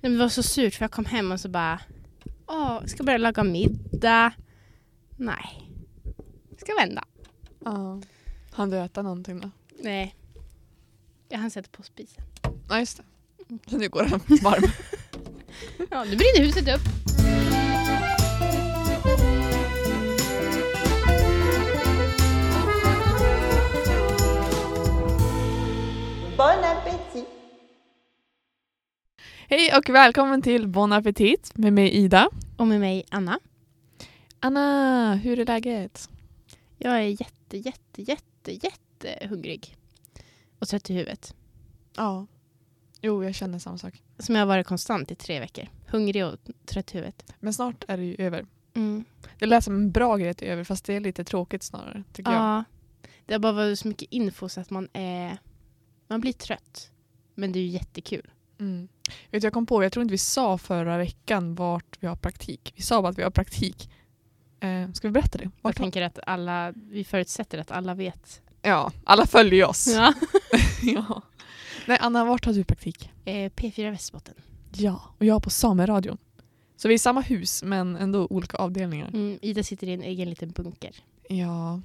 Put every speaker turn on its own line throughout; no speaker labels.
men det var så surt för jag kom hem och så bara, åh, ska börja laga middag. Nej. Ska vända.
Ja. Hann du äta någonting då?
Nej. Jag hann sätta på spisen.
Ja, just det. Mm. Så nu går den varm.
Ja, nu brinner huset upp.
Bon appétit
Hej och välkommen till Bon Appetit med mig Ida.
Och med mig Anna.
Anna, hur är läget?
Jag är jätte, jätte, jätte, jätte hungrig. Och trött i huvudet.
Ja. Jo, jag känner samma sak.
Som jag har varit konstant i tre veckor. Hungrig och trött i huvudet.
Men snart är det ju över.
Mm.
Det lät som en bra grej att det är över fast det är lite tråkigt snarare tycker jag.
Ja. Det har bara varit så mycket info så att man är... Man blir trött. Men det är ju jättekul.
Mm. Vet du, jag kom på, jag tror inte vi sa förra veckan vart vi har praktik. Vi sa bara att vi har praktik. Eh, ska vi berätta det?
Jag
Vart
tänker att alla... Vi förutsätter att alla vet.
Ja, alla följer oss.
Ja.
Ja. Nej, Anna, vart har du praktik?
Eh, P4 Västerbotten.
Ja, och jag på Sameradion. Så vi är i samma hus men ändå olika avdelningar.
Mm, Ida sitter i en egen liten bunker.
Ja.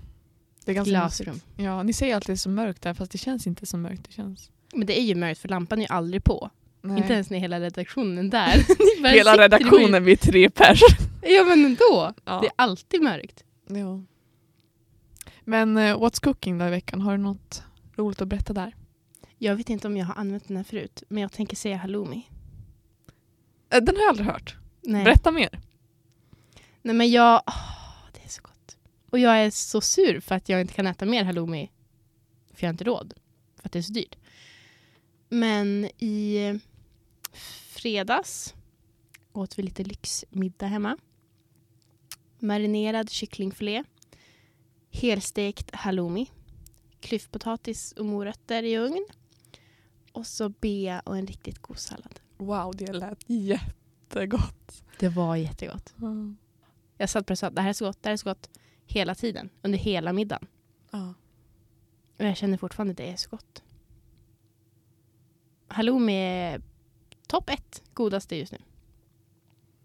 Det är ganska
Glasrum.
mysigt. Ja, ni säger alltid det är så mörkt där fast det känns inte så mörkt. Det känns...
Men det är ju mörkt för lampan är ju aldrig på.
Nej.
Inte ens när hela redaktionen är där. Ni bara
Hela
sitter i-
redaktionen, vi är tre pers.
Ja men ändå.
Ja.
Det är alltid mörkt.
Ja. Men eh, what's cooking då i veckan? Har du något roligt att berätta där?
Jag vet inte om jag har använt den här förut, men jag tänker säga halloumi.
Eh, Den har jag aldrig hört.
Nej.
Berätta mer.
Nej men jag... åh, det är så gott. Och jag är så sur för att jag inte kan äta mer halloumi. För jag har inte råd. För att det är så dyrt. Men i fredags åt vi lite lyxmiddag hemma. Marinerad kycklingfilé. Helstekt halloumi. Klyftpotatis och morötter i ugn. Och så bea och en riktigt god sallad.
Wow, det lät jättegott.
Det var jättegott. Jag satt bara och sa det här är så gott, det här är så gott. Hela tiden, under hela middagen.
Ja.
Och jag känner fortfarande att det är så gott. Halloumi är topp ett godaste just nu.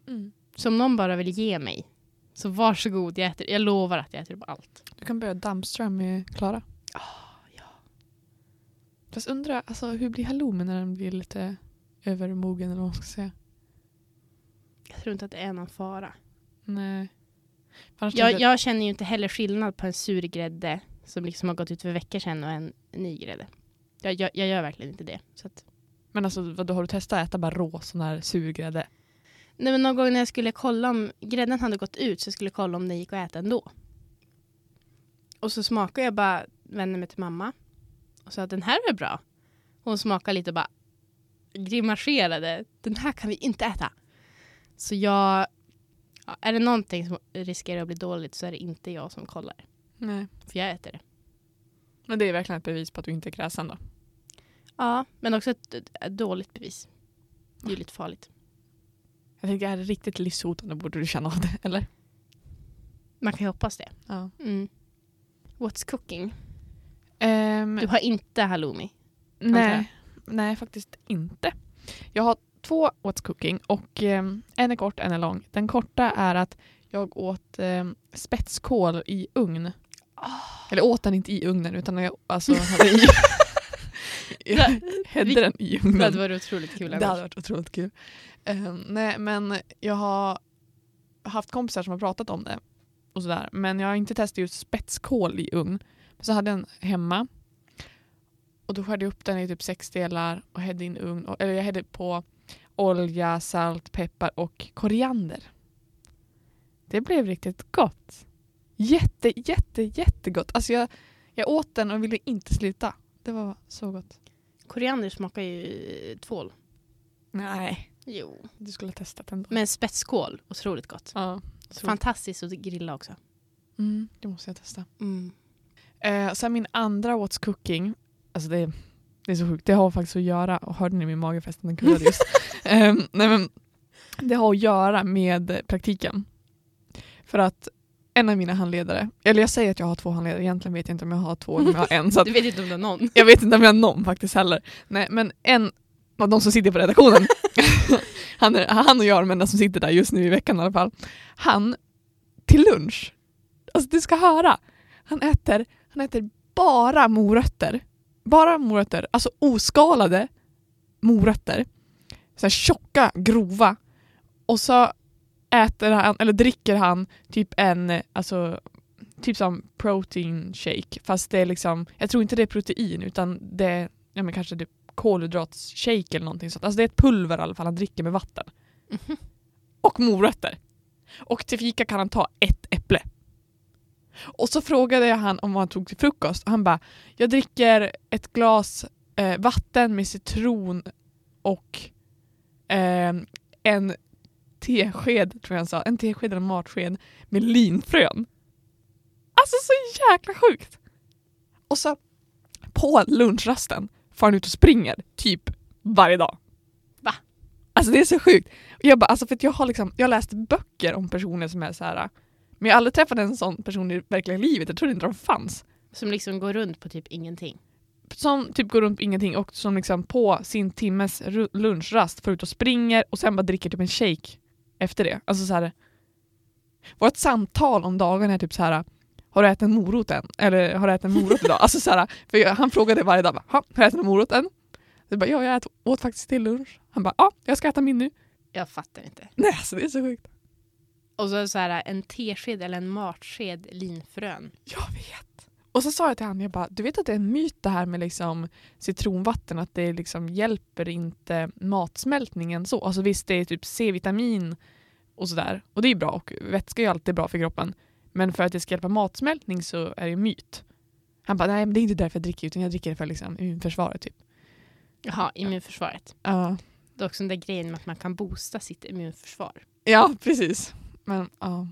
Mm.
Så om någon bara vill ge mig, så varsågod, jag, äter, jag lovar att jag äter upp allt.
Du kan börja dammstra med Klara. Ah, Fast undra, alltså, hur blir halloumin när den blir lite övermogen eller vad man ska säga?
Jag tror inte att det är någon fara.
Nej. Annars
Jag,
tänkte
jag känner ju inte heller skillnad på en sur grädde som liksom har gått ut för veckor sedan och en ny grädde. Jag, jag, jag gör verkligen inte det. Så att
Men alltså, vadå, har du testat att äta bara rå sån här surgrädde?
Nej, men någon gång när jag skulle kolla om grädden hade gått ut så jag skulle kolla om den gick att äta ändå. Och så smakade jag bara, vände mig till mamma och sa att den här är bra. Hon smakade lite och bara grimaserade. Den här kan vi inte äta. Så jag, ja, är det någonting som riskerar att bli dåligt så är det inte jag som kollar.
Nej.
För jag äter det.
Men det är verkligen ett bevis på att du inte är kräsen då.
Ja, men också ett, ett, ett dåligt bevis. Det är ju lite farligt.
Jag tänker, är det riktigt livshotande borde du känna av det, eller?
Man kan ju hoppas det.
Ja.
Mm. What's cooking?
Ehm,
Du har inte halloumi? antar jag.
nej, nej, faktiskt inte. Jag har två What's Cooking och ehm, en är kort, en är lång. Den korta är att jag åt um, spetskål i ugn. Eller åt den inte i ugnen utan jag alltså, hade i... jag hade den i
Det hade
ugnen.
varit otroligt kul
Det hade
annars.
varit otroligt kul. Ehm, nej, men jag har haft kompisar som har pratat om det. Och sådär. Men jag har inte testat just spetskål i ugn. Men så hade jag en hemma. Och då skärde jag upp den i typ sex delar och hällde in ugn. Och, eller jag hällde på olja, salt, peppar och koriander. Det blev riktigt gott. Jätte, jätte, jättegott. Alltså jag, jag åt den och ville inte sluta. Det var så gott.
Koriander smakar ju eh, tvål.
Nej.
Jo.
Du skulle ha testat ändå.
Men spetskål, otroligt gott.
Ja, otroligt.
Fantastiskt att grilla också.
Mm, det måste jag testa.
Mm.
Eh, sen min andra What's Cooking. Alltså det, det är så sjukt, det har faktiskt att göra, och hörde ni min mage förresten, den kurrade just. eh, nej men, det har att göra med praktiken. För att en av mina handledare, eller jag säger att jag har två handledare, egentligen vet jag inte om jag har två eller om jag har en. Så att
Du vet inte om det är någon.
jag vet inte om jag har någon faktiskt heller. Nej men en av de som sitter på redaktionen han, är, han och jag är de enda som sitter där just nu i veckan i alla fall. Han, till lunch, alltså du ska höra, han äter, han äter bara morötter. Bara morötter, alltså oskalade morötter. Så här tjocka, grova. Och så äter han, eller dricker han typ en, alltså typ som protein shake fast det är liksom, jag tror inte det är protein utan det är, ja men kanske det kolhydratshake eller någonting sånt. Alltså det är ett pulver i alla fall han dricker med vatten.
Mhm.
Och morötter. Och till fika kan han ta ett äpple. Och så frågade jag han om vad han tog till frukost och han bara, jag dricker ett glas eh, vatten med citron och eh, en tesked, tror jag han sa, en tesked eller en matsked med linfrön. Alltså så jäkla sjukt! Och så på lunchrasten får han ut och springer typ varje dag.
Va?
Alltså det är så sjukt. Och jag bara, alltså för att jag har liksom, jag har läst böcker om personer som är så här. men jag har aldrig träffat en sån person i verkliga livet, jag trodde inte de fanns.
Som liksom går runt på typ ingenting.
Som typ går runt på ingenting och som liksom på sin timmes ru- lunchrast får ut och springer och sen bara dricker typ en shake efter det. Alltså så här. Vårt samtal om dagen är typ så här. Har du ätit en morot än? Eller har du ätit en morot idag? alltså så här, för jag, han frågade varje dag, bara, "Ha, har du ätit en morot än? Jag bara, ja, jag ät, åt faktiskt till lunch. Han bara, ja, jag ska äta min nu.
Jag fattar inte.
Nej, alltså det är så sjukt.
Och så, så här, en tesked eller en matsked linfrön.
Jag vet. Och så sa jag till han, jag bara, du vet att det är en myt det här med liksom citronvatten, att det liksom hjälper inte matsmältningen så. Alltså visst, det är typ C-vitamin och sådär. Och det är ju bra och vätska är ju alltid bra för kroppen. Men för att det ska hjälpa matsmältning så är det ju myt. Han bara, nej men det är inte därför jag dricker utan jag dricker det för liksom immunförsvaret typ.
Jaha, immunförsvaret.
Ja.
Det är också den där grejen med att man kan boosta sitt immunförsvar.
ja, precis. Men ja.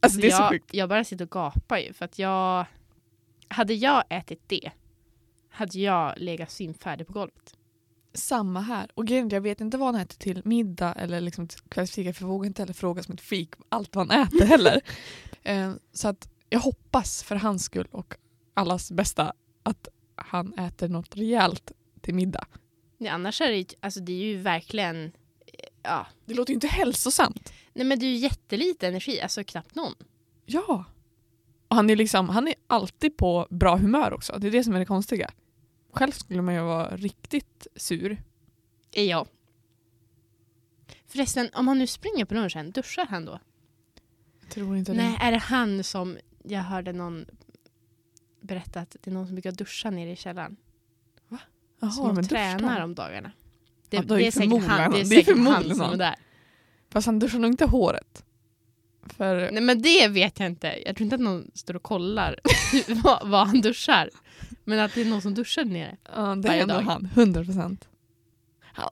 Alltså det är så
jag,
sjukt.
jag bara sitter och gapar ju för att jag... Hade jag ätit det hade jag legat simfärdig på golvet.
Samma här. Och grejen är att jag vet inte vad han äter till middag eller liksom till kvällsfika för jag vågar inte heller fråga som ett fik allt vad han äter heller. eh, så att jag hoppas för hans skull och allas bästa att han äter något rejält till middag.
Ja, Annars är det, ju- alltså, det är ju verkligen... eh, Ja.
Det låter ju inte hälsosamt.
Nej men det är ju jättelite energi, alltså knappt någon.
Ja. Och han är liksom, han är alltid på bra humör också. Det är det som är det konstiga. Själv skulle man ju vara riktigt sur. Eh,
Är jag. Förresten, om han nu springer på lunchen, duschar han då?
Tror inte
Nej, är det han som jag hörde någon berätta att det är någon som brukar duscha nere i källaren? som tränar om dagarna. Det,
Ja, då är
det
ju
är säkert
förmodligen
han,
han.
det är
Det är
säkert han
förmodligen
som är
han.
där.
Fast han duschar nog inte håret. För
Nej men det vet jag inte. Jag tror inte att någon står och kollar vad, vad han duschar. Men att det är någon som duschar där nere.
Ja, det
varje
är nog
dag.
han. 100 procent.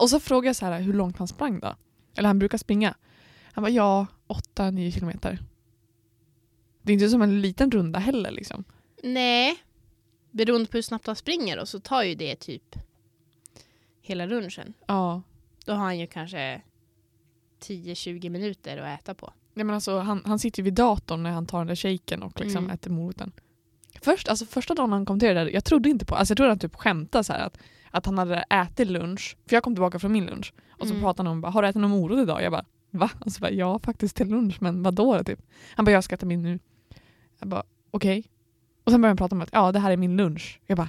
Och så frågade jag så här, hur långt han sprang då? Eller han brukar springa. Han bara, ja, 8-9 kilometer. Det är inte som en liten runda heller liksom.
Nej. Beroende på hur snabbt han springer och så tar ju det typ hela lunchen.
Ja.
Då har han ju kanske 10-20 minuter att äta på.
Nej, men alltså, han, han sitter ju vid datorn när han tar den där shaken och liksom
Mm.
äter moroten. Först, alltså, första dagen han kom till det där, jag trodde inte på, alltså, jag trodde han typ skämtade så här att, att han hade ätit lunch, för jag kom tillbaka från min lunch och så
Mm.
pratade han om, bara, har du ätit någon morot idag? Jag bara, va? Och så bara, ja faktiskt till lunch, men vadå då? Typ. Han bara, jag ska äta min nu. Jag bara, okej. Och sen började han prata om att, ja det här är min lunch. Jag bara,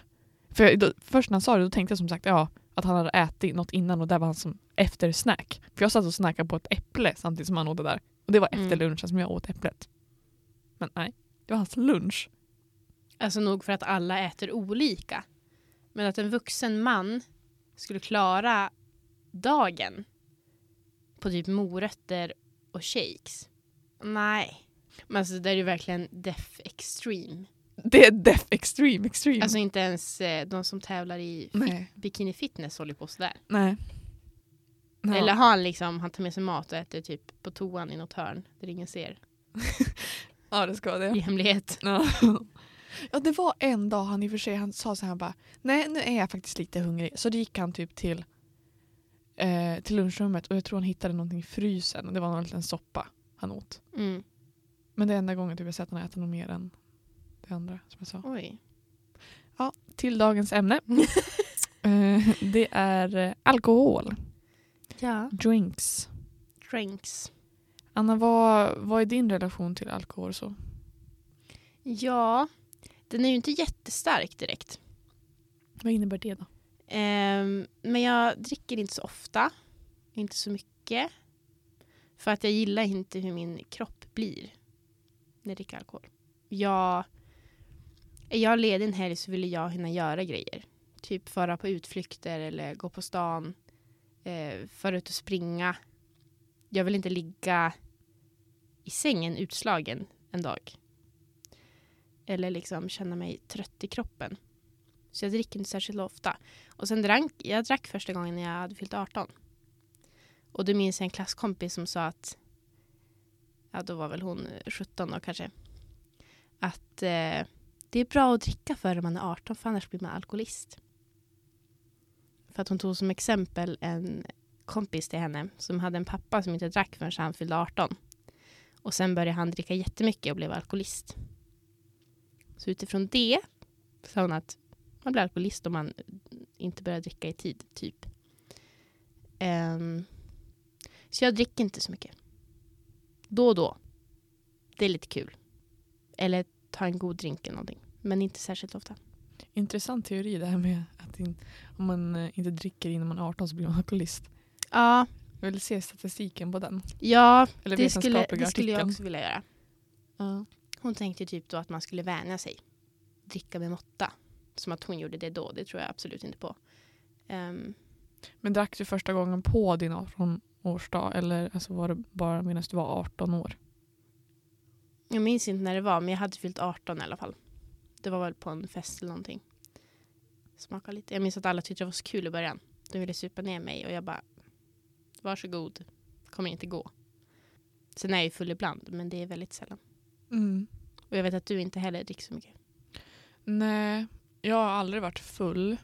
för jag, då, först när han sa det då tänkte jag som sagt, ja att han hade ätit något innan och där var han som eftersnack. För jag satt och snackade på ett äpple samtidigt som han åt det där. Och det var efter
Mm.
lunchen som jag åt äpplet. Men nej, det var hans lunch.
Alltså nog för att alla äter olika. Men att en vuxen man skulle klara dagen på typ morötter och shakes. Nej. Men alltså det där är ju verkligen death extreme.
Det är death extreme extreme.
Alltså inte ens eh, de som tävlar i fi-
nej,
bikini fitness håller på sådär.
nej. Ja.
Eller har han liksom, han tar med sig mat och äter typ på toan i något hörn där ingen ser.
Ja, det ska det.
I hemlighet.
Ja. ja, det var en dag han i och för sig han sa så här, han bara, nej nu är jag faktiskt lite hungrig. Så då gick han typ till, eh, till lunchrummet och jag tror han hittade någonting i frysen och det var någon liten soppa han åt.
Mm.
Men det är enda gången typ jag sett honom äta något mer än det andra som jag sa.
Oj.
Till dagens ämne. eh, det är eh, alkohol,
Ja.
drinks.
drinks.
Anna, vad, vad är din relation till alkohol? så?
Ja, den är ju inte jättestark direkt.
Vad innebär det då?
Ehm, men jag dricker inte så ofta. Inte så mycket. För att jag gillar inte hur min kropp blir när jag dricker alkohol. Jag, är jag ledig en helg så vill jag hinna göra grejer. Typ föra på utflykter eller gå på stan. Eh, föra ut och springa. Jag vill inte ligga i sängen utslagen en dag. Eller liksom känna mig trött i kroppen. Så jag dricker inte särskilt ofta. Och sen drank, jag drack första gången när jag hade fyllt 18. Och då minns jag en klasskompis som sa att, ja då var väl hon 17 då kanske, att eh, det är bra att dricka före man är 18 för annars blir man alkoholist. För att hon tog som exempel en kompis till henne som hade en pappa som inte drack förrän han fyllde 18. Och sen började han dricka jättemycket och blev alkoholist. Så utifrån det sa hon att man blir alkoholist om man inte börjar dricka i tid, typ. Ehm, så jag dricker inte så mycket. Då och då. Det är lite kul. Eller ta en god drink eller någonting. Men inte särskilt ofta.
Intressant teori det här med att in, om man eh, inte dricker innan man är 18 så blir man alkoholist.
Ja,
Jag vill se statistiken på den.
ja
Eller
det, skulle,
vetenskapliga
det skulle jag
artikeln.
också vilja göra.
Ja.
Hon tänkte typ då att man skulle vänja sig. Dricka med måtta. Som att hon gjorde det då. Det tror jag absolut inte på. Ehm,
Men drack du första gången på din 18-årsdag eller alltså var det bara medan du var 18 år?
Jag minns inte när det var, men jag hade fyllt 18 i alla fall. Det var väl på en fest eller någonting. Smaka lite. Jag minns att alla tyckte det var så kul i början. De ville supa ner mig och jag bara, varsågod, kommer inte gå. Sen är jag ju full ibland, men det är väldigt sällan. Mm. Och jag vet att du inte heller dricker så mycket.
Nej, jag har aldrig varit full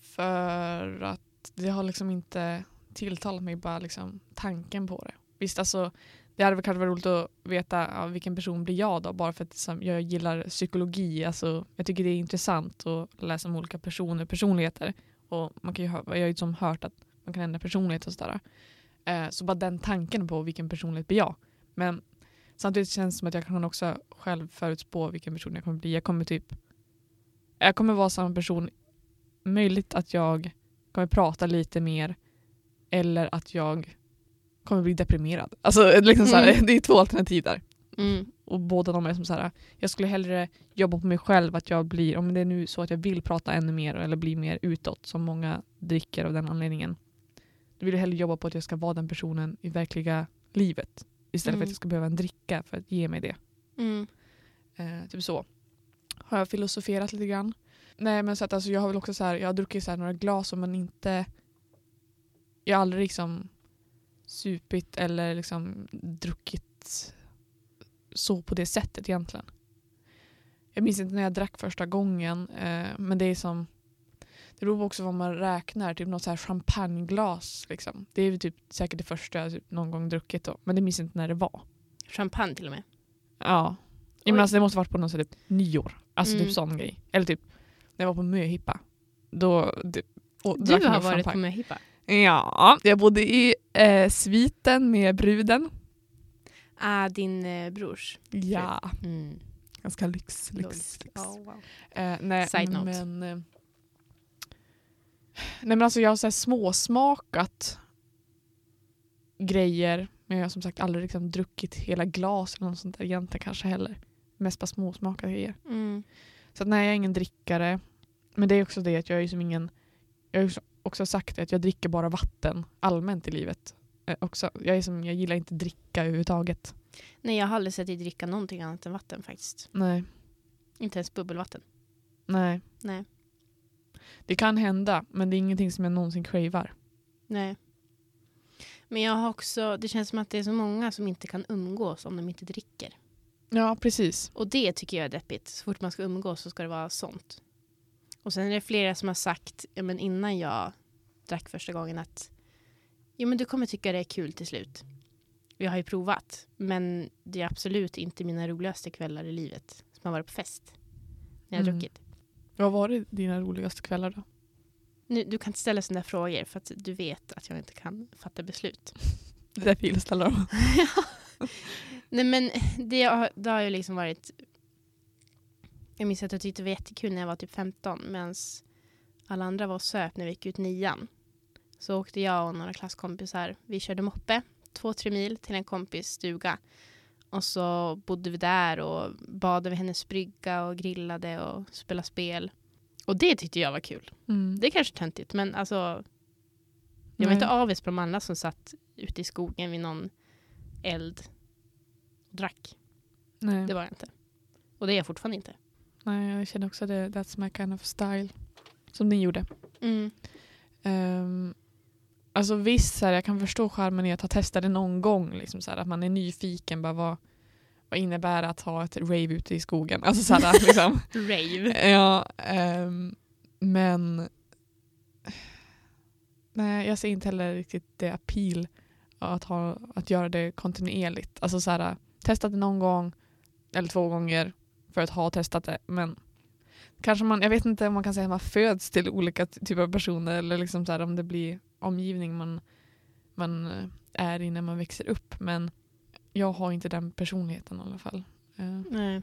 för att det har liksom inte tilltalat mig bara liksom tanken på det. Visst, alltså det hade väl kanske varit roligt att veta ja, vilken person blir jag då bara för att liksom, jag gillar psykologi. Alltså, jag tycker det är intressant att läsa om olika personer personligheter. Och man kan ju, hö- jag har ju liksom hört att man kan ändra personlighet och sådär. Eh, så bara den tanken på vilken personlighet blir jag. Men samtidigt känns det som att jag kan också själv förutspå vilken person jag kommer bli. Jag kommer typ jag kommer vara samma person. Möjligt att jag kommer prata lite mer eller att jag kommer bli deprimerad. Alltså, liksom så här,
Mm.
Det är två alternativ där.
Mm.
Och båda de är som så här, jag skulle hellre jobba på mig själv att jag blir, om det är nu så att jag vill prata ännu mer eller bli mer utåt som många dricker av den anledningen. Då vill jag hellre jobba på att jag ska vara den personen i verkliga livet istället för
Mm.
att jag ska behöva en dricka för att ge mig det.
Mm.
Eh, typ så. Har jag filosoferat lite grann. Nej men så att alltså, jag har väl också så här, jag har druckit så här några glas och men inte jag har aldrig liksom supit eller liksom druckit så på det sättet egentligen. Jag minns inte när jag drack första gången eh, men det är som det beror också på vad man räknar, typ något så här champagneglas liksom. Det är ju typ säkert det första jag typ någon gång druckit då men det minns inte när det var.
Champagne till och med.
Ja. ja men
Oj.
alltså, det måste varit på någon sån här typ nyår. Alltså
Mm.
typ sån grej. Eller typ när jag var på möhippa. Då, det, och,
Du
drack man
har
ju
varit på
champagne.
möhippa.
Ja, jag bodde i eh, sviten med bruden.
Ah, din eh, brors.
Ja,
Mm.
ganska lyx. lyx,
Lol.
lyx.
Ja, wow.
Eh, nej,
Side note.
Men, eh, nej men alltså jag har så här småsmakat grejer men jag har som sagt aldrig liksom druckit hela glas eller något sånt där egentligen kanske heller. Mest bara småsmakade grejer.
Mm.
Så att nej, jag är ingen drickare. Men det är också det att jag är som ingen... Jag har ju också sagt det, att jag dricker bara vatten allmänt i livet. Eh, också, jag, är som, jag gillar inte dricka överhuvudtaget.
Nej, jag har aldrig sett dig dricka någonting annat än vatten faktiskt.
Nej.
Inte ens bubbelvatten.
nej.
Nej.
Det kan hända, men det är ingenting som jag någonsin cravar.
Nej. Men jag har också, det känns som att det är så många som inte kan umgås om de inte dricker.
Ja, precis.
Och det tycker jag är deppigt. Så fort man ska umgås så ska det vara sånt. Och sen är det flera som har sagt, ja, men innan jag drack första gången att jo, men du kommer tycka det är kul till slut. Jag har ju provat, men det är absolut inte mina roligaste kvällar i livet som har varit på fest. När jag har
Mm.
druckit.
Vad var det dina roligaste kvällar då?
Nu, du kan inte ställa sådana där frågor för att du vet att jag inte kan fatta beslut.
Det är därför jag gillar dem.
Nej men det har, det har ju liksom varit... Jag minns att jag tyckte det var jättekul när jag var typ 15 medan alla andra var och söp när vi gick ut nian. Så åkte jag och några klasskompisar, vi körde moppe två, tre mil till en kompis stuga. Och så bodde vi där och badade vid hennes brygga och grillade och spelade spel. Och det tyckte jag var kul. Det är kanske töntigt men alltså jag var
Mm. Nej.
inte avis på de andra som satt ute i skogen vid någon eld och drack.
Nej.
Det var jag inte. Och det är jag fortfarande inte.
Nej, jag känner också det. That's my kind of style. Som ni gjorde.
Mm.
Um, alltså visst, så här, jag kan förstå charmen i att ha testat det någon gång. Liksom, så här, att man är nyfiken. Bara, vad, vad innebär det att ha ett rave ute i skogen? Alltså, så här, liksom.
Rave.
ja, ehm, men nej, jag ser inte heller riktigt det appeal av att, ha, att göra det kontinuerligt. Alltså så här, testat det någon gång eller två gånger för att ha testat det. Men kanske man, jag vet inte om man kan säga att man föds till olika ty- typer av personer eller liksom så här, om det blir omgivning man, man eh, är i när man växer upp. Men jag har inte den personligheten i alla fall. Eh,
Nej.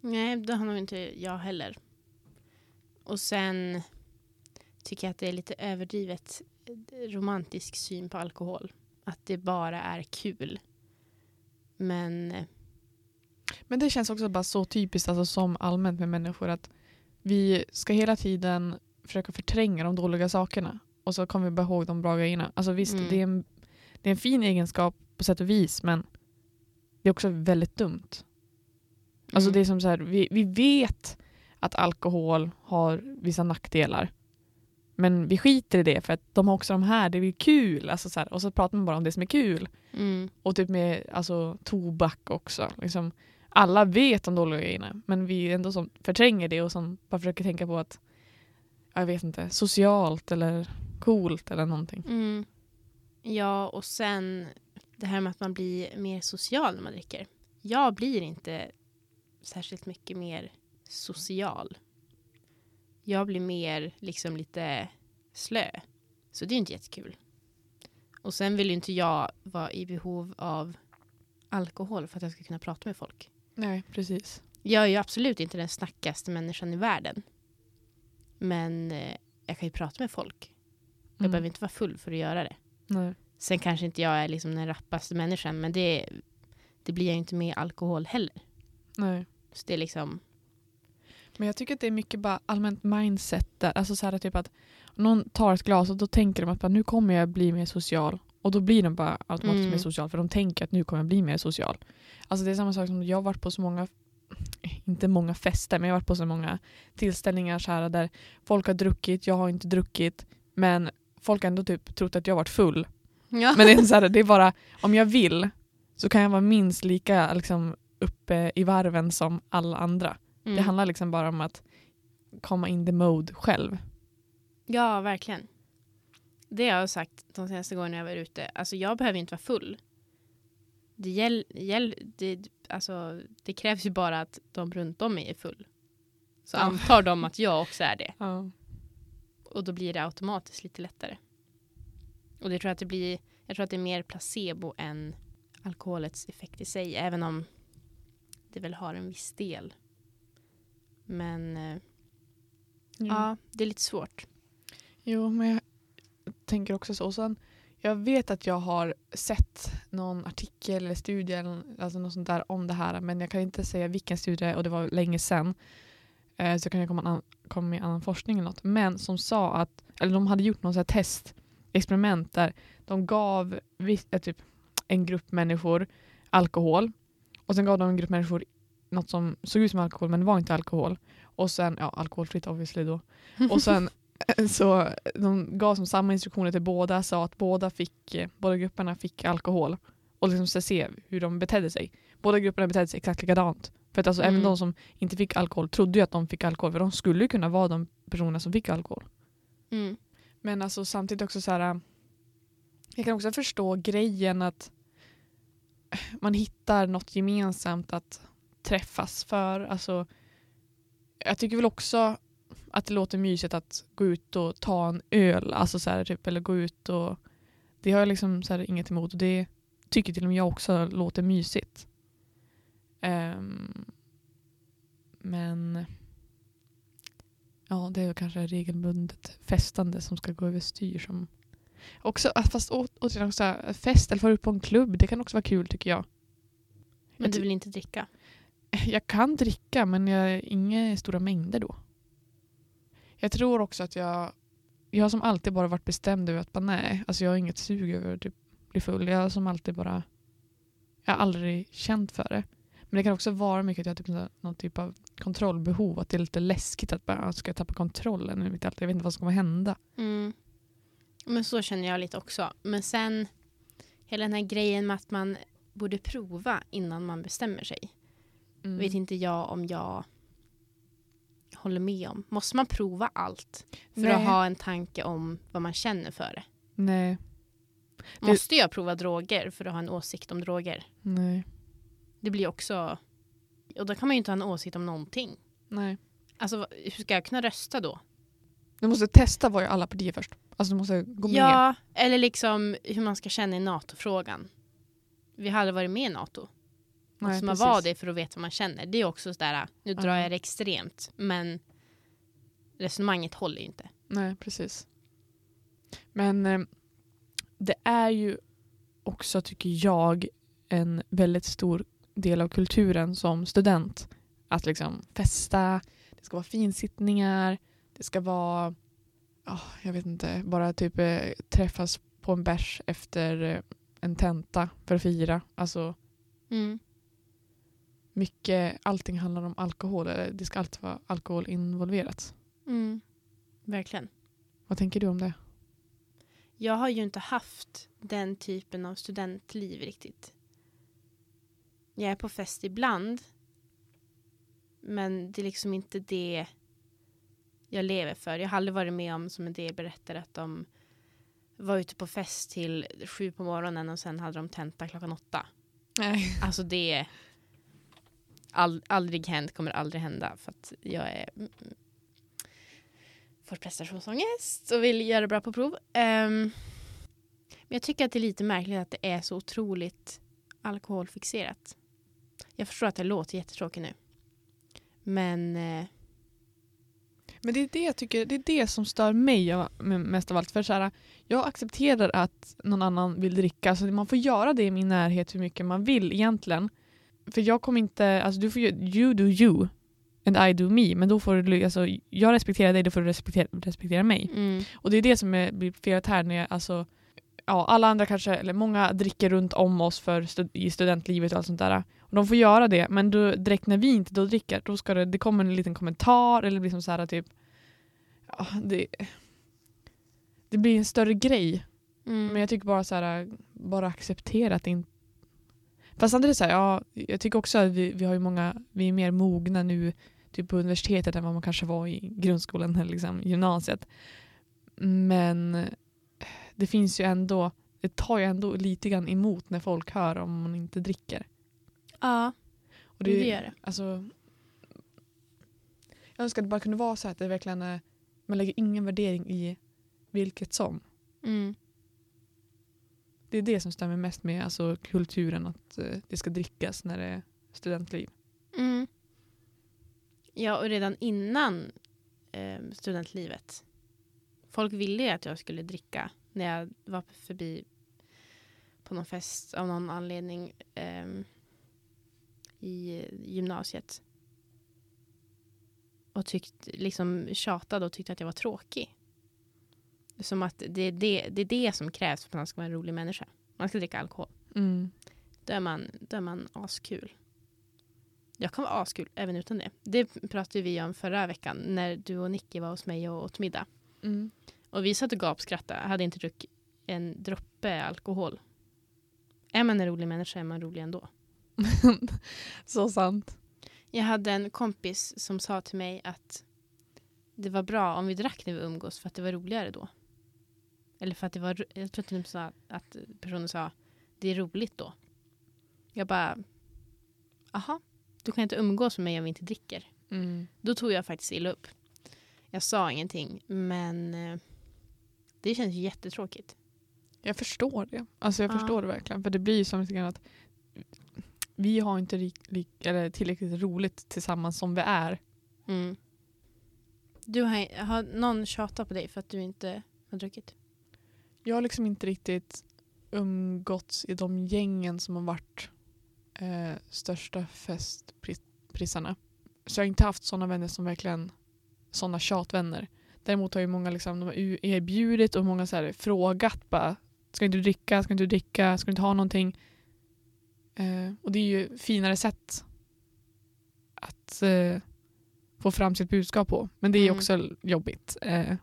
Nej, det har nog inte jag heller. Och sen tycker jag att det är lite överdrivet eh, romantisk syn på alkohol. Att det bara är kul. Men eh,
Men det känns också bara så typiskt alltså, som allmänt med människor att vi ska hela tiden försöka förtränga de dåliga sakerna och så kommer vi bara ihåg de bra grejerna. Alltså visst,
Mm.
det, är en, det är en fin egenskap på sätt och vis men det är också väldigt dumt. Alltså
mm,
det är som så här, vi, vi vet att alkohol har vissa nackdelar men vi skiter i det för att de har också de här, det är kul. Alltså så här, och så pratar man bara om det som är kul.
mm,
Och typ med alltså, tobak också. Liksom, alla vet de dåliga grejerna men vi är ändå som förtränger det och som bara försöker tänka på att ja, jag vet inte, socialt eller coolt eller någonting.
mm. Ja, och sen det här med att man blir mer social när man dricker. Jag blir inte särskilt mycket mer social. Jag blir mer liksom lite slö. Så det är inte jättekul. Och sen vill ju inte jag vara i behov av alkohol för att jag ska kunna prata med folk.
Nej, precis.
Jag är ju absolut inte den snackaste människan i världen. Men eh, jag kan ju prata med folk. Jag
Mm.
behöver inte vara full för att göra det.
Nej.
Sen kanske inte jag är liksom den rappaste människan, men det, det blir jag ju inte med alkohol heller.
Nej.
Så det är liksom...
Men jag tycker att det är mycket bara allmänt mindset där. Alltså så här typ att någon tar ett glas och då tänker de att bara, nu kommer jag bli mer social. Och då blir de bara automatiskt
Mm.
mer social för de tänker att nu kommer jag bli mer social. Alltså det är samma sak som jag har varit på så många, inte många fester, men jag har varit på så många tillställningar så här där folk har druckit, jag har inte druckit, men folk har ändå typ trott att jag har varit full.
Ja.
Men det är, så här, det är bara, om jag vill så kan jag vara minst lika liksom, uppe i varven som alla andra.
mm.
Det handlar liksom bara om att komma in the mode själv.
ja, verkligen. Det har jag sagt de senaste gångerna jag var ute. Alltså jag behöver ju inte vara full. Det, gäll, gäll, det, alltså, det krävs ju bara att de runt om mig är full. Så
Ja.
antar de att jag också är det.
Ja.
Och då blir det automatiskt lite lättare. Och det tror jag, att det blir, jag tror att det är mer placebo än alkoholets effekt i sig. Även om det väl har en viss del. Men eh, ja, det är lite svårt.
Jo, men jag tänker också så. Och sen, jag vet att jag har sett någon artikel eller studie eller alltså något sånt där om det här men jag kan inte säga vilken studie och det var länge sedan. Eh, så kan jag komma, an- komma med annan forskning eller något. Men som sa att, eller de hade gjort något så här test, experiment där de gav vis- eh, typ en grupp människor alkohol och sen gav de en grupp människor något som såg ut som alkohol men det var inte alkohol. Och sen, ja alkoholfritt obviously då. Och sen så de gav som samma instruktioner till båda, sa att båda, fick, eh, båda grupperna fick alkohol och liksom så se hur de betedde sig. Båda grupperna betedde sig exakt likadant. För att alltså även
Mm.
de som inte fick alkohol trodde ju att de fick alkohol för de skulle ju kunna vara de personerna som fick alkohol.
Mm.
Men alltså samtidigt också så här. Jag kan också förstå grejen att man hittar något gemensamt att träffas för. Alltså, jag tycker väl också att det låter mysigt att gå ut och ta en öl. Alltså så här, typ, eller gå ut och det har jag liksom så här, inget emot. Och det, tycker till och med jag också låter mysigt. Ehm, men ja, det är väl kanske regelbundet festande som ska gå överstyr. Som också, att fast å- återigen, också, här, fest eller vara ute på en klubb, det kan också vara kul tycker jag.
Men du vill inte dricka?
Jag kan dricka men jag, inga stora mängder då. Jag tror också att jag, jag har som alltid bara varit bestämd över att bara, nej, alltså jag har inget sug över att typ bli full. Jag har som alltid bara, jag har aldrig känt för det. Men det kan också vara mycket att jag har typ nå- någon typ av kontrollbehov, att det är lite läskigt att bara, "Ah, ska jag tappa kontrollen över mitt allt? Jag vet inte vad som kommer hända.
Mm. Men så känner jag lite också. Men sen hela den här grejen med att man borde prova innan man bestämmer sig.
Mm.
Vet inte jag om jag håller med om. Måste man prova allt för
Nej.
att ha en tanke om vad man känner för det?
Nej, Det-
Måste jag prova droger för att ha en åsikt om droger?
nej,
Det blir också... Och då kan man ju inte ha en åsikt om någonting.
nej.
Alltså vad- hur ska jag kunna rösta då?
Du måste testa vad ju alla partier först. Alltså du måste gå med.
ja, eller liksom hur man ska känna i NATO-frågan. Vi har aldrig varit med i NATO.
Nej,
måste man
precis.
vara det för att veta vad man känner. Det är också sådär, nu drar
Ja.
jag det extremt, men resonemanget håller ju inte.
Nej, precis. Men eh, det är ju också, tycker jag, en väldigt stor del av kulturen som student. Att liksom festa, det ska vara finsittningar, det ska vara, ja, jag vet inte, bara typ eh, träffas på en bärs efter eh, en tenta för att fira. Alltså
Mm.
mycket, allting handlar om alkohol, eller det ska alltid vara alkohol involverat.
Mm. Verkligen.
Vad tänker du om det?
Jag har ju inte haft den typen av studentliv riktigt. Jag är på fest ibland. Men det är liksom inte det jag lever för. Jag har aldrig varit med om, som en del berättar, att de var ute på fest till sju på morgonen och sen hade de tenta klockan åtta.
Nej.
Alltså det är all, aldrig hänt, kommer aldrig hända för att jag är får prestationsångest och vill göra bra på prov. Ehm, men jag tycker att det är lite märkligt att det är så otroligt alkoholfixerat. Jag förstår att det låter jättetråkigt nu. Men eh,
Men det är det jag tycker, det är det som stör mig av- m- mest av allt. För så här, jag accepterar att någon annan vill dricka, så man får göra det i min närhet hur mycket man vill egentligen. För jag kommer inte, alltså du får ju, you do you and I do me, men då får du, alltså jag respekterar dig, då får du respektera, respektera mig.
mm,
Och det är det som är, blir felet här när jag, alltså, ja, alla andra kanske, eller många dricker runt om oss för stud- i studentlivet och allt sånt där. Och de får göra det, men då, direkt när vi inte då dricker, då ska det, det kommer en liten kommentar eller liksom så här typ, ja, det, det blir en större grej.
mm,
Men jag tycker bara så här, bara acceptera att det inte Fast samtidigt så här, ja, jag tycker också att vi, vi har ju många, vi är mer mogna nu typ på universitetet än vad man kanske var i grundskolan eller liksom gymnasiet. Men det finns ju ändå, det tar ju ändå lite grann emot när folk hör om man inte dricker.
ja,
Och
det gör det.
Alltså, jag önskar att det bara kunde vara så här att det verkligen är, man lägger ingen värdering i vilket som.
Mm,
Det är det som stämmer mest med alltså, kulturen, att eh, det ska drickas när det är studentliv.
mm. Ja, och redan innan ehm, studentlivet. Folk ville ju att jag skulle dricka när jag var förbi på någon fest av någon anledning ehm, i gymnasiet. Och tyckt, liksom tjatade och tyckte att jag var tråkig. Som att det är det, det, är det som krävs för att man ska vara en rolig människa. Man ska dricka alkohol.
Mm.
Då är man, då är man askul. Jag kan vara askul även utan det. Det pratade vi om förra veckan när du och Nicky var hos mig och åt middag.
Mm.
Och vi satt och gapskrattade. Jag hade inte druckit en droppe alkohol. Är man en rolig människa är man rolig ändå.
Så sant.
Jag hade en kompis som sa till mig att det var bra om vi drack när vi umgås för att det var roligare då. Eller för att det var, ro- jag tror att de sa att personen sa det är roligt då. Jag bara, aha, du kan inte umgås med mig om vi inte dricker.
Mm.
Då tog jag faktiskt illa upp. Jag sa ingenting, men eh, det känns ju jättetråkigt.
Jag förstår det. Alltså jag
Ja.
förstår det verkligen. För det blir ju som lite grann att vi har inte rik, lik, eller tillräckligt roligt tillsammans som vi är.
Mm. Du har, har någon tjatat på dig för att du inte har druckit?
Jag har liksom inte riktigt umgåtts i de gängen som har varit eh, största festprissarna. Så jag har inte haft sådana vänner som verkligen sådana tjatvänner. Däremot har ju många liksom, de har ju erbjudit och många så här, frågat bara ska inte du dricka, ska inte du dricka, ska du inte ha någonting. Eh, och det är ju finare sätt att eh, få fram sitt budskap på. Men det är ju
Mm.
också jobbigt. Eh,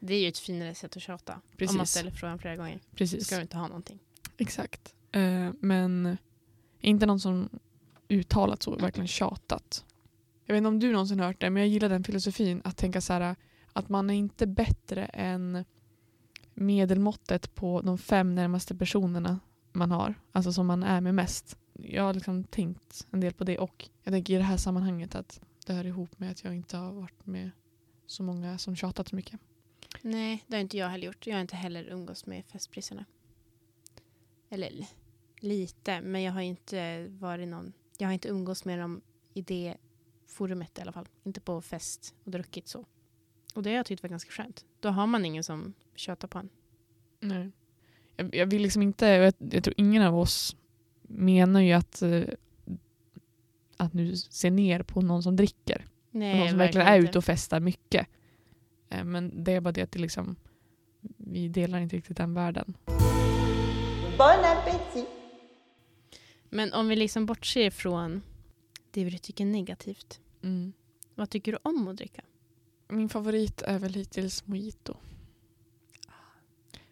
Det är ju ett finare sätt att tjata. Om man
Precis.
ställer frågan flera gånger.
precis.
Ska du inte ha någonting?
Exakt. Eh, men inte någon som uttalat så, verkligen tjatat. Jag vet inte om du någonsin hört det, men jag gillar den filosofin att tänka så här att man är inte bättre än medelmåttet på de fem närmaste personerna man har, alltså som man är med mest. Jag har liksom tänkt en del på det och jag tänker i det här sammanhanget att det hör ihop med att jag inte har varit med så många som tjatat så mycket.
Nej, det har inte jag heller gjort. Jag har inte heller umgås med festpriserna. Eller l- lite, men jag har inte varit någon... Jag har inte umgås med dem i det forumet i alla fall. Inte på fest och druckit så. Och det har jag tyckt var ganska skönt. Då har man ingen som tjatar på en.
Nej. Jag, jag vill liksom inte, jag, jag tror ingen av oss menar ju att, eh, att nu se ner på någon som dricker.
Nej,
Och någon som verkligen är ute och festar mycket. Eh, Men det är bara det att det liksom, vi delar inte riktigt den världen.
Bon appétit
Men om vi liksom bortser från det vi tycker är negativt.
Mm.
Vad tycker du om att dricka?
Min favorit är väl hittills mojito.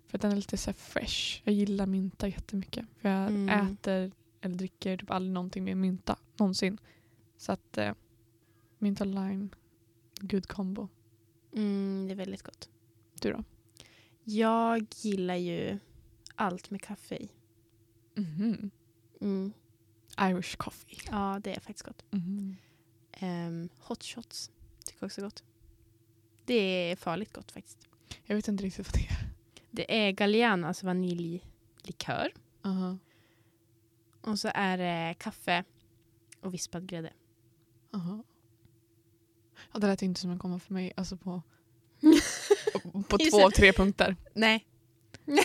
För att den är lite så här fresh. Jag gillar mynta jättemycket. För jag
Mm.
äter eller dricker typ aldrig någonting med mynta. Någonsin. Så att eh, mynta och lime, good combo.
Mm, det är väldigt gott.
Du då?
Jag gillar ju allt med kaffe i. Mm.
Mhm. Irish coffee.
Ja, det är faktiskt gott.
Mhm.
Ehm, hot shots tycker jag också är gott. Det är farligt gott faktiskt.
Jag vet inte riktigt vad det är.
Det är Galliano, alltså vaniljlikör.
Aha.
Och så är det kaffe och vispad grädde.
Aha. Ja, det lät ju inte som en komma för mig. Alltså på, på
Just
två
det.
av tre punkter.
Nej.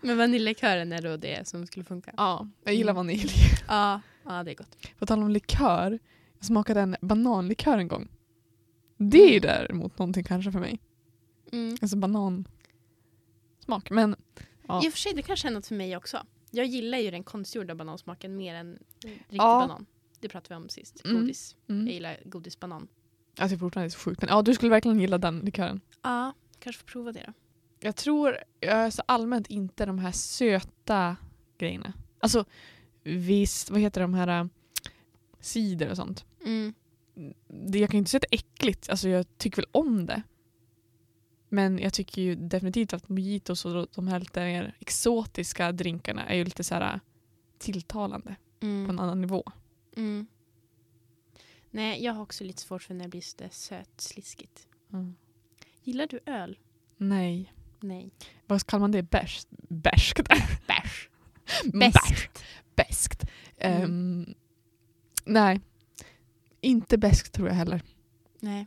Men vaniljlikören är då det som skulle funka.
Ja, jag gillar
Mm.
vanilj.
Ja, ja det är gott.
På tal om likör, jag smakade en bananlikör en gång. Det är ju
Mm.
däremot någonting kanske för mig.
Mm.
Alltså banansmak. Men Ja.
I och för sig, det kanske är något för mig också. Jag gillar ju den konstgjorda banansmaken mer än riktig
Ja.
banan. Det pratade vi om sist.
Mm.
Godis. Jag
mm.
gillar godisbanan.
alltså jag är fortfarande så sjukt. Men ja, du skulle verkligen gilla den likören.
Ja, kanske får prova det då.
Jag tror, jag är så allmänt inte de här söta grejerna. Alltså visst, vad heter de här äh, cider och sånt.
Mm,
Det, jag kan ju inte säga att det är äckligt, alltså jag tycker väl om det. Men jag tycker ju definitivt att mojitos och de här lite mer exotiska drinkarna är ju lite så här äh, tilltalande på en annan nivå.
Mm. Nej, jag har också lite svårt för när det blir så där sötsliskigt. Gillar du öl?
Nej.
Nej.
Vad kallar man det? Bärs, bärskt?
Bärs.
Bärs-
Bäst.
Bärskt.
Mm.
Ehm, nej. Inte bärskt tror jag heller.
Nej.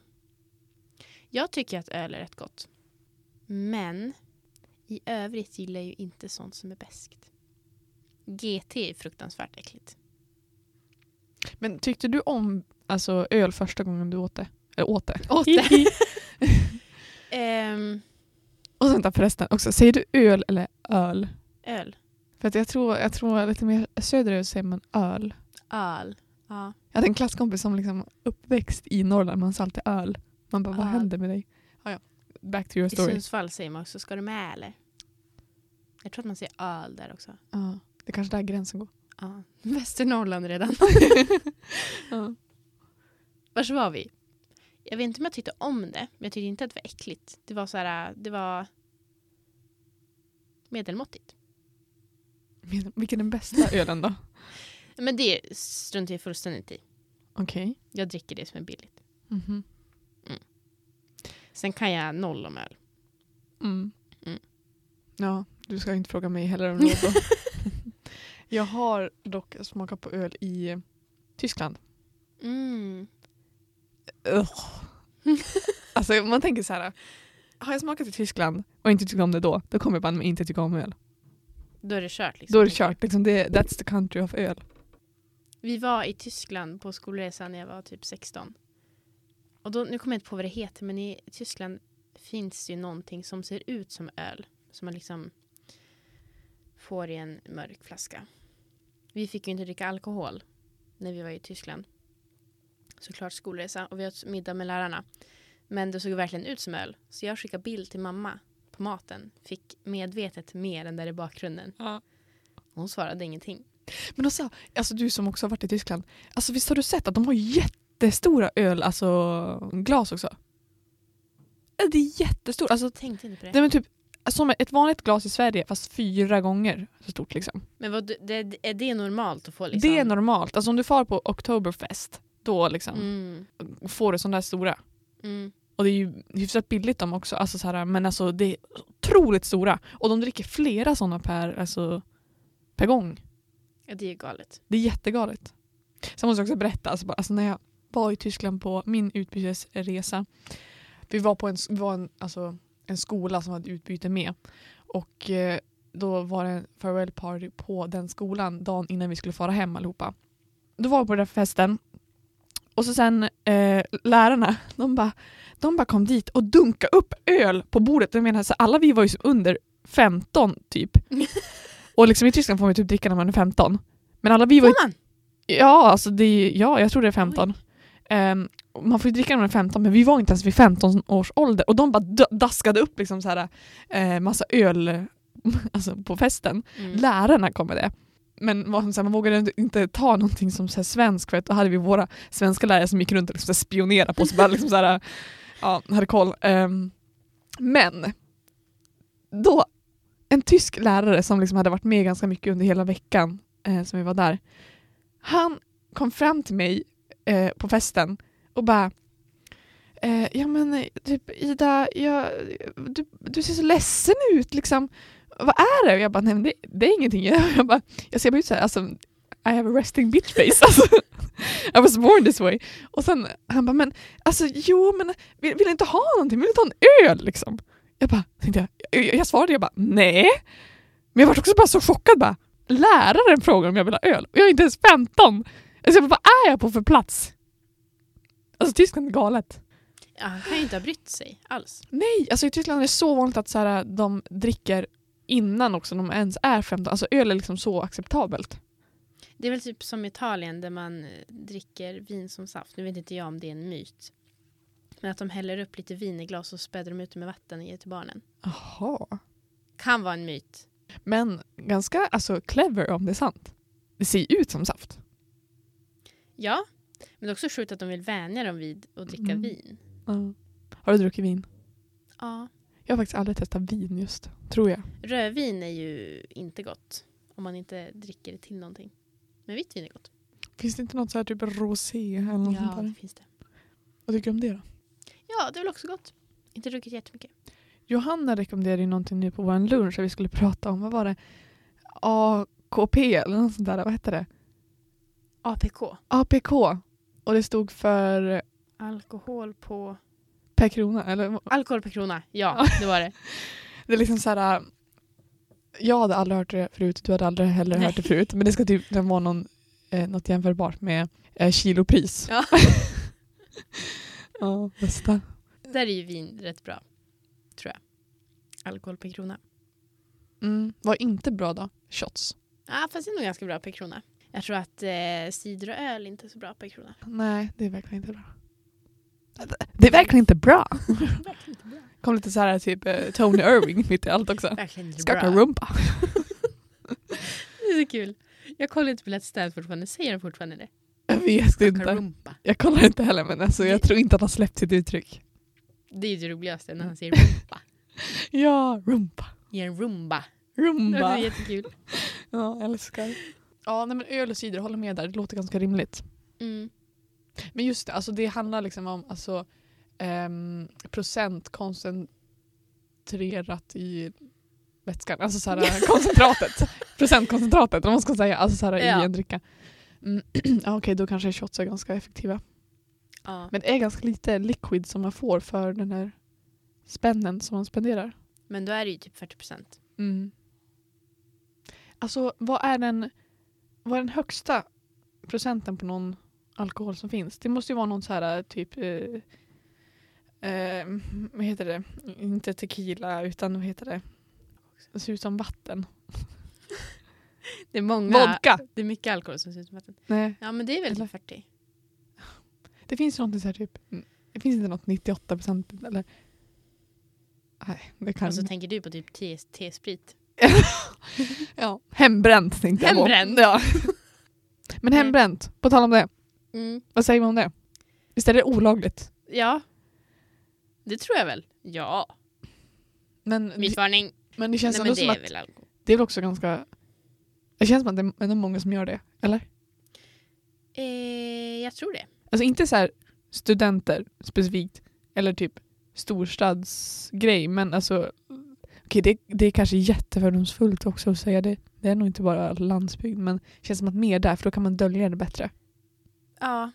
Jag tycker att öl är rätt gott. Men i övrigt gillar jag ju inte sånt som är beskt. GT är fruktansvärt äckligt.
Men tyckte du om alltså, öl första gången du åt det? Eller åt det?
Åt det. Ehm,
Och sen förresten också, säger du öl eller öl?
öl.
För att jag tror, jag tror lite mer söderut säger man öl.
Öl. Ja.
Jag hade en klasskompis som liksom uppväxt i Norrland, man sa alltid öl. Man bara, vad
Öl.
händer med dig? Ja, ja. Back to your
I
story.
Sundsvall säger man också, ska du med eller? Jag tror att man säger öl där också.
Ja, det är kanske där gränsen går.
Ja. Västernorrland redan.
Ja.
Vars var vi? Jag vet inte om jag tyckte om det, men jag tyckte inte att det var äckligt. Det var så här, det var medelmåttigt.
Men Vilken är den bästa ölen då?
Men det struntar jag fullständigt i.
Okej.
Jag dricker det som är billigt.
Mhm.
Sen kan jag noll om öl.
Mm.
Mm.
Ja, du ska inte fråga mig heller om råd då. Jag har dock smakat på öl i Tyskland.
Mm.
Alltså man tänker så här. Har jag smakat i Tyskland och inte tyckt om det då, då kommer jag bara inte tycka om öl.
Då är det kört. Liksom.
Då är det kört. Liksom det, that's the country of öl.
Vi var i Tyskland på skolresan när jag var typ 16. Och då, nu kommer jag inte på vad det heter, men i Tyskland finns det ju någonting som ser ut som öl. Som man liksom får i en mörk flaska. Vi fick ju inte dricka alkohol när vi var i Tyskland. Såklart skolresa och vi åt middag med lärarna. Men det såg verkligen ut som öl. Så jag skickade bild till mamma på maten. Fick medvetet med den där i bakgrunden.
Ja.
Hon svarade ingenting.
Men alltså, alltså du som också har varit i Tyskland. Alltså visst har du sett att de har jättestora öl, alltså glas också? Ja, Det är jättestort. Alltså,
Tänkte inte på det.
det är väl typ som ett vanligt glas i Sverige fast fyra gånger så stort liksom.
Men vad, det, är det normalt att få liksom?
Det är normalt. Alltså om du far på Oktoberfest då liksom
Mm,
får du sådana där stora.
mm.
Och det är ju hyfsat billigt de också. Alltså, så här, men alltså det är otroligt stora. Och de dricker flera sådana per, alltså, per gång.
Ja, det är galet.
Det är jättegalet. Sen måste jag också berätta, alltså, bara, alltså när jag var i Tyskland på min utbytesresa. Vi var på en, vi var en, alltså, en skola som hade utbyte med. Och eh, då var det en farewell party på den skolan dagen innan vi skulle fara hem allihopa. Då var vi på den där festen. Och så sen eh, lärarna, de bara de bara kom dit och dunkade upp öl på bordet. Jag menar, så alla vi var ju som under 15 typ. och liksom i Tyskland får man ju typ dricka när man är 15. Men alla vi var ju
Får man?
Ja, alltså det är, ja, jag tror det är 15. Ehm, och man får ju dricka när man är 15, men vi var inte ens vid 15 års ålder. Och de bara d- daskade upp liksom så här, eh, massa öl alltså på festen.
Mm.
Lärarna kom med det. Men vad som så här, man vågade inte- inte ta någonting som så här svensk, för att då hade vi våra svenska lärare som gick runt och liksom så här spionerade på oss. och bara liksom så här, ja, hade koll. Ehm, men då, en tysk lärare som liksom hade varit med ganska mycket under hela veckan eh, som vi var där, han kom fram till mig eh, på festen och bara eh, Ja men eh, typ Ida, jag, du, du ser så ledsen ut liksom. Vad är det? Och jag bara, nej men det, det är ingenting. Jag, jag, bara, jag ser bara ut så här, alltså, I have a resting bitch face. Alltså, I was born this way. Och sen han bara, men alltså jo men vill, vill du inte ha någonting? Vill du ta en öl liksom? Jag bara, tänkte jag, jag, jag svarade jag bara, nej. Men jag var också bara så chockad bara. Läraren frågar om jag vill ha öl och jag är inte ens 15. Alltså, jag bara, vad är jag på för plats? Alltså Tyskland är galet.
Ja, han kan ju inte ha brytt sig alls.
Nej, alltså i Tyskland är det så vanligt att så här, de dricker innan också de ens är 15. Alltså öl är liksom så acceptabelt.
Det är väl typ som Italien där man eh, dricker vin som saft. Nu vet inte jag om det är en myt. Men att de häller upp lite vin i glas och späder de ut det med vatten och ger till barnen.
Jaha.
Kan vara en myt.
Men ganska alltså, clever om det är sant. Det ser ju ut som saft.
Ja, men det är också sjukt att de vill vänja dem vid att dricka
Mm.
vin.
Har du druckit vin?
Ja.
Jag har faktiskt aldrig testat vin just, tror jag.
Rödvin är ju inte gott om man inte dricker det till någonting. Men vitt vin är gott.
Finns det inte något så här typ rosé eller något sånt
Ja, det
där?
finns det.
Vad tycker du om det då?
Ja, det är väl också gott. Inte druckit jättemycket.
Johanna rekommenderade ju någonting nu på vår lunch där vi skulle prata om, vad var det? AKP eller något sånt där, vad hette det?
APK.
APK. Och det stod för
Alkohol på...
per krona. Eller,
Alkohol per krona. Ja, det var det.
det är liksom så här, äh, jag hade aldrig hört det förut, du hade aldrig heller
Nej.
hört det förut. Men det ska typ den vara någon, eh, något jämförbart med eh, kilopris.
Ja.
ja, bästa.
Där är ju vin rätt bra. Tror jag. Alkohol per krona.
Mm, var inte bra då? Shots?
Ja, ah, fast det är nog ganska bra per krona. Jag tror att eh, cider och öl är inte är så bra per krona.
Nej, det är verkligen inte bra. Det är verkligen inte bra.
Verkligen inte bra.
Kom lite så här typ eh, Tony Irving mitt i allt också.
Verkligen inte bra.
Skaka rumpa.
Det är så kul. Jag kollar inte på Let's Dance fortfarande. Säger de fortfarande det?
Jag vet inte.
Kakarumpa.
Jag kollar inte heller men alltså, jag tror inte att han släppt sitt uttryck.
Det är ju det roligaste när han säger rumpa.
Ja, rumpa.
I en rumba. Det
Rumba.
är jättekul.
Ja, älskar. Ja, nej, men öl och cider, håller med där. Det låter ganska rimligt.
Mm.
Men just det, alltså, det handlar liksom om alltså, ehm, procent koncentrerat i vätskan, alltså så här, koncentratet. Procentkoncentratet, eller vad man ska säga, alltså så här,
Ja.
i en dricka. Mm. ja, Okej, då kanske shots är ganska effektiva.
Ja.
Men det är ganska lite liquid som man får för den här spännen som man spenderar.
Men då är det ju typ 40 procent.
Mm. Alltså vad är den vad är den högsta procenten på någon alkohol som finns? Det måste ju vara någon så här typ eh, eh, vad heter det? Inte tequila utan vad heter det? Det ser ut som vatten.
Det är många.
Vodka!
Det är mycket alkohol som ser ut som vatten.
Nej.
Ja men det är väl
Eller-
typ 40.
Det finns ju någonting så här typ det finns inte något 98 procent eller Nej, det kan
Och så tänker du på typ te- T-sprit.
ja. Hembränt tänkte jag på.
Hembränt?
Ja. Men hembränt, på tal om det.
Mm.
Vad säger man om det? Visst är det olagligt?
Ja. Det tror jag väl. Ja.
Men,
Missvarning.
men det
Nej,
känns
men
ändå
det
som att
är väl alkohol.
det är väl också ganska... Det känns som att det är ändå många som gör det, eller?
Eh, jag tror det.
Alltså inte så här studenter specifikt, eller typ storstadsgrej, men alltså... Okej, det, det är kanske jättefördomsfullt också att säga det. Det är nog inte bara landsbygd, men det känns som att mer där, för då kan man dölja det bättre.
Ja.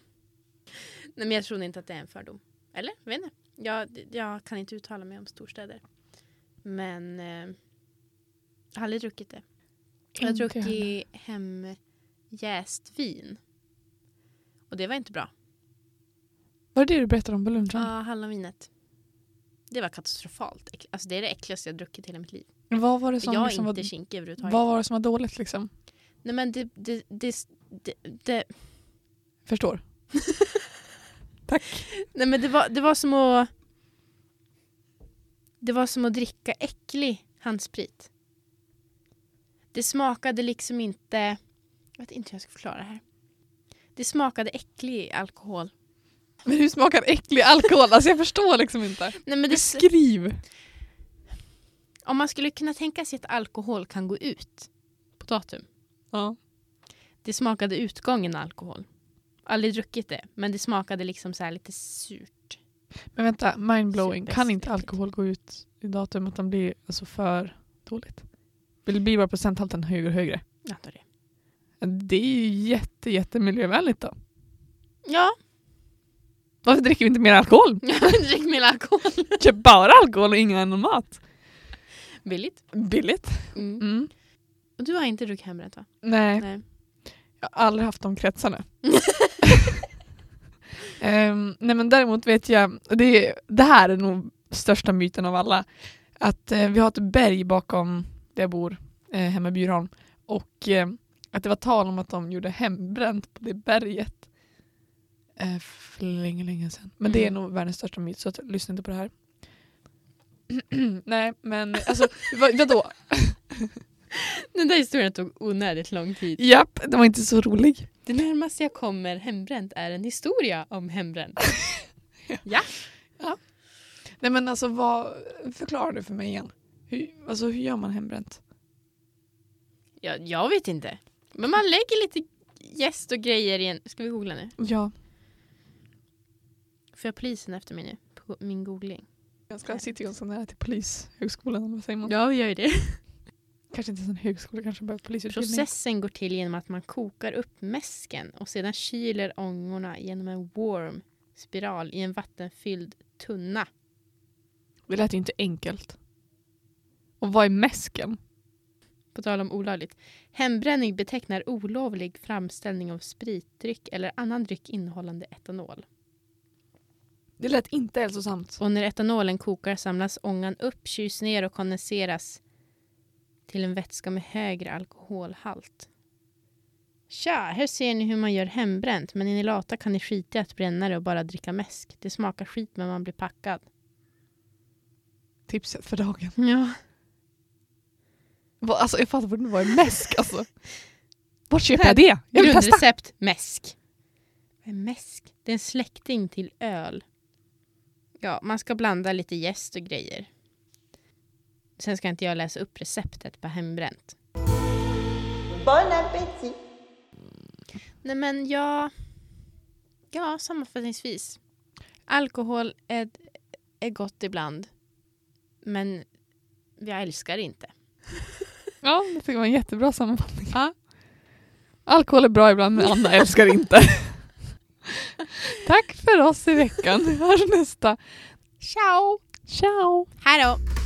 Nej men jag tror inte att det är en fördom. Eller? Jag vet inte. Jag, jag kan inte uttala mig om storstäder. Men eh, jag har aldrig druckit det. Jag har
Inte
druckit hemjäst vin. Och det var inte bra.
Var det det du berättade om på
Ja,
lunchen?
hallonvinet. Det var katastrofalt. äckligt. Alltså det är det äckligaste jag druckit i hela mitt liv.
Vad var det
Jag
som,
är
liksom
inte
var,
kinkig överhuvudtaget.
vad var det som var dåligt liksom?
Nej men det, det, det, det, det,
Förstår.
nej, men det, var, det var som att... Det var som att dricka äcklig handsprit. Det smakade liksom inte... Jag vet inte hur jag ska förklara det här. Det smakade äcklig alkohol.
Men hur smakar äcklig alkohol? Alltså jag förstår liksom inte.
Nej, men det,
Beskriv!
om man skulle kunna tänka sig att alkohol kan gå ut på datum.
Ja.
Det smakade utgången alkohol. Aldrig druckit det, men det smakade liksom så här lite surt.
Men vänta, mindblowing. Kan
Superäckligt.
inte alkohol gå ut i datum att den blir alltså för dåligt? Det blir bara procenthalten högre och högre.
Jag antar det.
Det är ju jätte, jätte miljövänligt då.
Ja,
Varför dricker vi inte mer alkohol?
drick mer alkohol.
Köp bara alkohol och ingen annan mat.
Billigt.
Billigt. Mm.
Och du har inte druckit hembränt va?
Nej,
Nej.
jag har aldrig haft de kretsarna. Ehm, nej men däremot vet jag, och det, är- det här är nog största myten av alla, att eh, vi har ett berg bakom där jag bor, eh, hemma i Bjurholm, och eh, att det var tal om att de gjorde hembränt på det berget eh, för länge, länge sedan. Men det är
Mm.
nog världens största myt, så att, lyssna inte på det här. nej men alltså, vad, vadå?
Den där historien tog onödigt lång tid.
Japp, den var inte så rolig.
Det närmaste jag kommer hembränt är en historia om hembränt.
Nej men alltså vad, förklara du för mig igen. Hur, alltså hur gör man hembränt?
Jag, jag vet inte. Men man lägger lite gäst och grejer i en... Ska vi googla nu?
Ja.
Får jag polisen efter mig nu? På min googling.
Jag ska sitta ganska nära till polishögskolan, eller vad säger man?
Ja, vi gör ju det.
Kanske inte ens en högskola, kanske bara polisutbildning.
Processen går till genom att man kokar upp mäsken och sedan kyler ångorna genom en warm spiral i en vattenfylld tunna.
Det lät ju inte enkelt. Och vad är mäsken?
På tal om olagligt. Hembränning betecknar olovlig framställning av spritdryck eller annan dryck innehållande etanol.
Det lät inte hälsosamt.
Och när etanolen kokar samlas ångan upp, kyls ner och kondenseras till en vätska med högre alkoholhalt. Tja, här ser ni hur man gör hembränt, men är ni lata kan ni skita i att bränna det och bara dricka mäsk. Det smakar skit men man blir packad.
Tipset för dagen.
Ja.
Vad- Alltså jag fattar fortfarande vad är mäsk alltså. Var köper
Nej,
jag det? Jag vill testa.
Grundrecept, mäsk. Vad är mäsk? Det är en släkting till öl. Ja, man ska blanda lite jäst och grejer. Sen ska inte jag läsa upp receptet på hembränt.
Bon appétit
Nej men jag... Ja, sammanfattningsvis. Alkohol är, är gott ibland. Men jag älskar det inte.
Ja, det tycker jag var en jättebra sammanfattning. Alkohol är bra ibland men Anna älskar inte. Tack för oss i veckan. Vi hörs nästa.
Ciao!
Ciao!
Hej då!